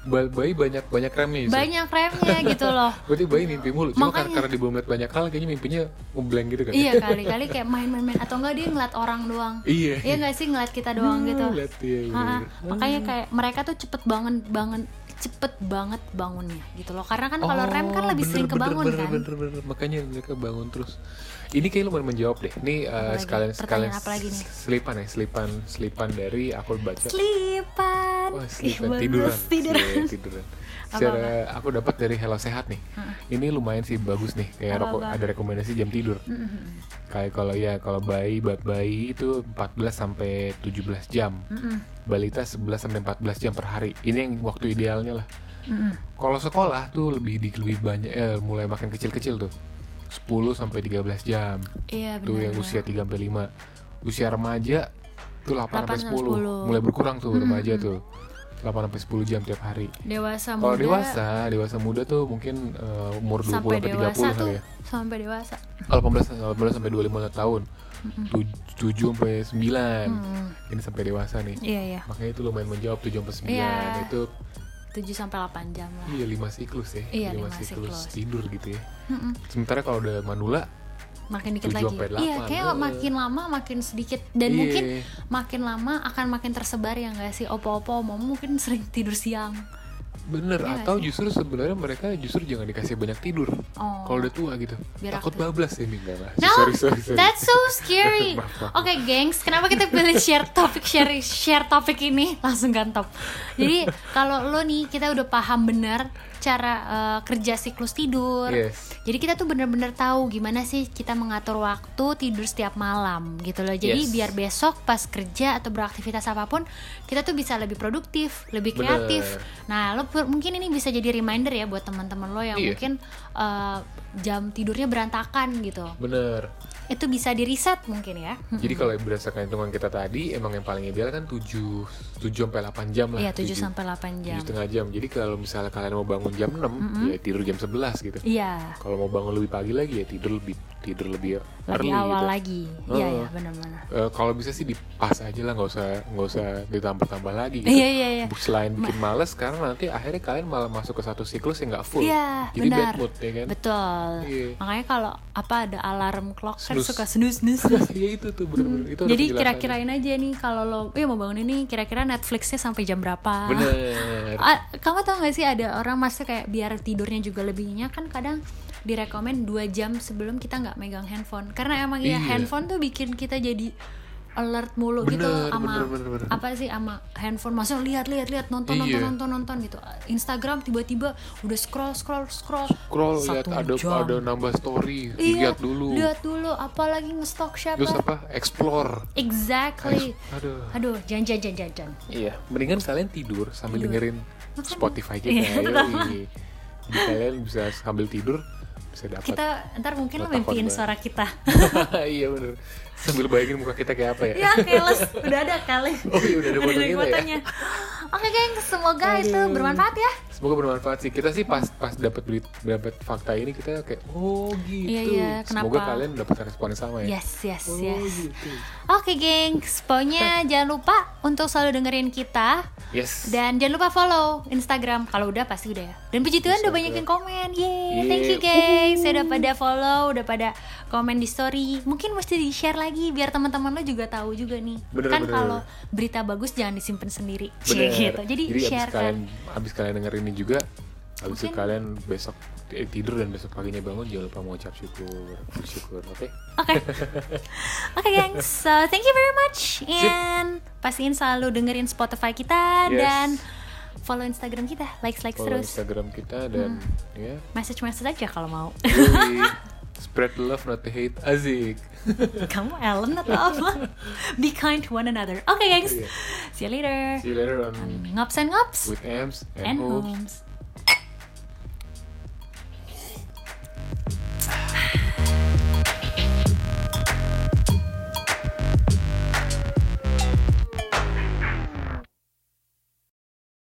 Speaker 3: Ba- Bayi banyak banyak remnya. Yusuf.
Speaker 2: Banyak remnya gitu loh.
Speaker 3: Berarti bayi mimpi mulu. Cuma karena,
Speaker 2: Makanya.
Speaker 3: karena dibawa melihat banyak hal kayaknya mimpinya ngeblank gitu kan.
Speaker 2: iya, kali-kali kayak main-main-main atau enggak dia ngeliat orang doang.
Speaker 3: Iya.
Speaker 2: Iya nggak sih ngeliat kita doang gitu.
Speaker 3: Lihat iya, dia.
Speaker 2: Ah, makanya
Speaker 3: Oh.
Speaker 2: kayak mereka tuh cepet bangun bangun cepet banget bangunnya gitu loh karena kan kalau rem kan lebih sering
Speaker 3: Oh,
Speaker 2: kebangun
Speaker 3: bener,
Speaker 2: kan
Speaker 3: bener, bener, bener. makanya mereka bangun terus ini kayak lumayan menjawab deh ini uh,
Speaker 2: Apalagi?
Speaker 3: sekalian sekalian
Speaker 2: Pertanyaan apa lagi nih?
Speaker 3: selipan ya selipan selipan dari aku baca
Speaker 2: selipan
Speaker 3: Wah,
Speaker 2: Ih,
Speaker 3: selipan
Speaker 2: bagus,
Speaker 3: Oh, tiduran
Speaker 2: tiduran.
Speaker 3: Iya, tiduran secara aku dapat dari Hello Sehat nih ini lumayan sih bagus nih kayak
Speaker 2: Apa,
Speaker 3: rokok-
Speaker 2: apa?
Speaker 3: ada rekomendasi jam tidur kayak kalau ya kalau bayi ba- bayi itu 14 sampai 17 jam balita 11 sampai 14 jam per hari ini yang waktu idealnya lah kalau sekolah tuh lebih di- lebih banyak eh, mulai makin kecil-kecil tuh 10 sampai 13 jam
Speaker 2: iya
Speaker 3: tuh yang
Speaker 2: benar
Speaker 3: usia 3 sampai 5 usia remaja tuh 8, sampai
Speaker 2: 8 sampai
Speaker 3: 10.
Speaker 2: 10.
Speaker 3: mulai berkurang tuh remaja tuh 8 sampai 10 jam tiap hari.
Speaker 2: Dewasa muda
Speaker 3: Kalau dewasa, dewasa muda tuh mungkin eh, umur 20
Speaker 2: sampai
Speaker 3: sampai 30
Speaker 2: dewasa
Speaker 3: kali
Speaker 2: tuh
Speaker 3: ya.
Speaker 2: sampai dewasa.
Speaker 3: Kalau 18 18 sampai 25 tahun. 7 sampai 9. Ini sampai dewasa nih.
Speaker 2: Mm. Iya iya.
Speaker 3: Makanya itu lumayan menjawab 7 sampai 9.
Speaker 2: Iya.
Speaker 3: Itu
Speaker 2: 7 sampai 8 jam lah.
Speaker 3: iya 5 siklus ya.
Speaker 2: Iya,
Speaker 3: lima
Speaker 2: lima siklus.
Speaker 3: tidur gitu ya.
Speaker 2: Mm-mm.
Speaker 3: Sementara kalau udah manula
Speaker 2: Makin dikit
Speaker 3: 7
Speaker 2: lagi.
Speaker 3: sampai
Speaker 2: Iya,
Speaker 3: 8.
Speaker 2: kayak makin lama makin sedikit dan
Speaker 3: Iya.
Speaker 2: mungkin makin lama akan makin tersebar ya nggak sih opo-opo mau mungkin sering tidur siang.
Speaker 3: bener
Speaker 2: Iya
Speaker 3: atau
Speaker 2: sih.
Speaker 3: justru sebenarnya mereka justru jangan dikasih banyak tidur.
Speaker 2: Oh.
Speaker 3: Kalau udah tua gitu.
Speaker 2: Biar
Speaker 3: Takut
Speaker 2: aktif.
Speaker 3: bablas ya enggak lah.
Speaker 2: No,
Speaker 3: Sorry, sorry, sorry.
Speaker 2: that's so scary.
Speaker 3: Maaf, maaf.
Speaker 2: Oke, gengs, kenapa kita pilih share topik share share topik ini langsung gantop. Jadi kalau lo nih kita udah paham benar cara eh, kerja siklus tidur.
Speaker 3: Yes.
Speaker 2: Jadi kita tuh bener-bener tahu gimana sih kita mengatur waktu tidur setiap malam gitu loh.
Speaker 3: Yes.
Speaker 2: Jadi biar besok pas kerja atau beraktivitas apapun kita tuh bisa lebih produktif, lebih
Speaker 3: Bener.
Speaker 2: kreatif. Nah, lo pu- mungkin ini bisa jadi reminder ya buat teman-teman lo yang
Speaker 3: Iya.
Speaker 2: mungkin eh, jam tidurnya berantakan gitu
Speaker 3: Bener.
Speaker 2: itu bisa di reset mungkin ya
Speaker 3: Jadi kalau berdasarkan hitungan kita tadi, emang yang paling ideal kan 7 7 sampai 8 jam lah.
Speaker 2: iya 7 sampai 8 jam
Speaker 3: tujuh setengah jam. Jadi kalau misalnya kalian mau bangun jam 6, ya tidur jam 11 gitu.
Speaker 2: iya
Speaker 3: Kalau mau bangun lebih pagi lagi ya tidur lebih tidur lebih,
Speaker 2: lebih
Speaker 3: early
Speaker 2: awal
Speaker 3: gitu.
Speaker 2: lagi iya
Speaker 3: Heeh.
Speaker 2: iya benar-benar
Speaker 3: Eh, kalau bisa sih dipas aja lah, nggak usah nggak usah ditambah-tambah lagi. Gitu.
Speaker 2: Iya, iya, iya.
Speaker 3: Selain bikin males, karena nanti akhirnya kalian malah masuk ke satu siklus yang nggak full.
Speaker 2: Iya,
Speaker 3: Jadi bad
Speaker 2: benar.
Speaker 3: mood ya kan.
Speaker 2: betul
Speaker 3: Iya.
Speaker 2: makanya kalau apa ada alarm clock kan
Speaker 3: Snooze.
Speaker 2: suka snus snus
Speaker 3: Iya itu tuh benar-benar itu. ada
Speaker 2: Hmm. jadi
Speaker 3: penjelasannya.
Speaker 2: kira-kirain aja nih kalau lo eh mau bangun ini kira-kira Netflixnya sampai jam berapa
Speaker 3: Bener.
Speaker 2: Ah, kamu tau gak sih ada orang masa kayak biar tidurnya juga lebihnya kan kadang direkomen dua jam sebelum kita nggak megang handphone karena emang ya
Speaker 3: Iya.
Speaker 2: handphone tuh bikin kita jadi alert mulu gitu
Speaker 3: Bener,
Speaker 2: loh sama
Speaker 3: bener, bener, bener.
Speaker 2: apa sih sama handphone maksudnya lihat lihat lihat nonton nonton
Speaker 3: Iya.
Speaker 2: nonton nonton gitu Instagram tiba-tiba udah scroll scroll scroll
Speaker 3: scroll lihat
Speaker 2: Satu
Speaker 3: ada
Speaker 2: jam.
Speaker 3: ada nambah story
Speaker 2: Iya,
Speaker 3: lihat dulu
Speaker 2: lihat dulu apalagi ngestok siapa
Speaker 3: terus apa explore
Speaker 2: exactly
Speaker 3: aduh
Speaker 2: aduh jangan jangan jangan jangan
Speaker 3: iya mendingan kalian tidur sambil
Speaker 2: Tidur.
Speaker 3: dengerin
Speaker 2: Iya. Makanya.
Speaker 3: Spotify kita ya,
Speaker 2: Iya,
Speaker 3: yoi. jadi kalian bisa sambil tidur bisa dapat
Speaker 2: kita ntar mungkin lo
Speaker 3: Buat
Speaker 2: mimpiin
Speaker 3: takut, Mbak.
Speaker 2: suara kita
Speaker 3: iya bener sambil bayangin muka kita kayak apa ya
Speaker 2: ya keles udah ada kali
Speaker 3: oh iya udah ada
Speaker 2: Udah
Speaker 3: foto
Speaker 2: dari
Speaker 3: kita ya
Speaker 2: fotonya. Oke geng, semoga itu bermanfaat ya.
Speaker 3: semoga bermanfaat sih kita sih pas pas dapat berita dapat fakta ini kita kayak oh gitu
Speaker 2: Iya, iya,
Speaker 3: semoga
Speaker 2: kenapa?
Speaker 3: kalian dapat respon yang sama ya
Speaker 2: Yes, yes,
Speaker 3: oh
Speaker 2: yes.
Speaker 3: gitu
Speaker 2: Oke geng, pokoknya jangan lupa untuk selalu dengerin kita
Speaker 3: yes
Speaker 2: dan jangan lupa follow Instagram kalau udah pasti udah ya. Dan puji Tuhan udah
Speaker 3: Instagram.
Speaker 2: banyak yang komen. Yeay,
Speaker 3: Yeay.
Speaker 2: thank you guys. Saya udah pada follow, udah pada komen di story. Mungkin mesti di-share lagi biar teman-teman lo juga tahu juga nih.
Speaker 3: Bener,
Speaker 2: kan
Speaker 3: bener.
Speaker 2: kalau berita bagus jangan disimpan sendiri. Cie,
Speaker 3: Bener.
Speaker 2: gitu. Jadi,
Speaker 3: abis
Speaker 2: share
Speaker 3: kalian,
Speaker 2: kan.
Speaker 3: abis kalian denger ini juga abis itu
Speaker 2: Mungkin-
Speaker 3: kalian besok eh, tidur dan besok paginya bangun jangan lupa mengucap syukur bersyukur oke
Speaker 2: Oke. Oke, gengs. So, thank you very much. And pastiin selalu dengerin Spotify kita
Speaker 3: Yes.
Speaker 2: dan follow Instagram kita. Likes likes
Speaker 3: follow
Speaker 2: terus. Hmm.
Speaker 3: instagram kita dan ya
Speaker 2: Message message aja kalau mau.
Speaker 3: yoi. spread love not the hate azik
Speaker 2: Kamu Ellen atau apa? Be kind to one another. Oke, gengs.
Speaker 3: Iya.
Speaker 2: See you later.
Speaker 3: see you later on
Speaker 2: Ngops and ngops
Speaker 3: with Ams and,
Speaker 2: and
Speaker 3: Hopes.
Speaker 2: homes.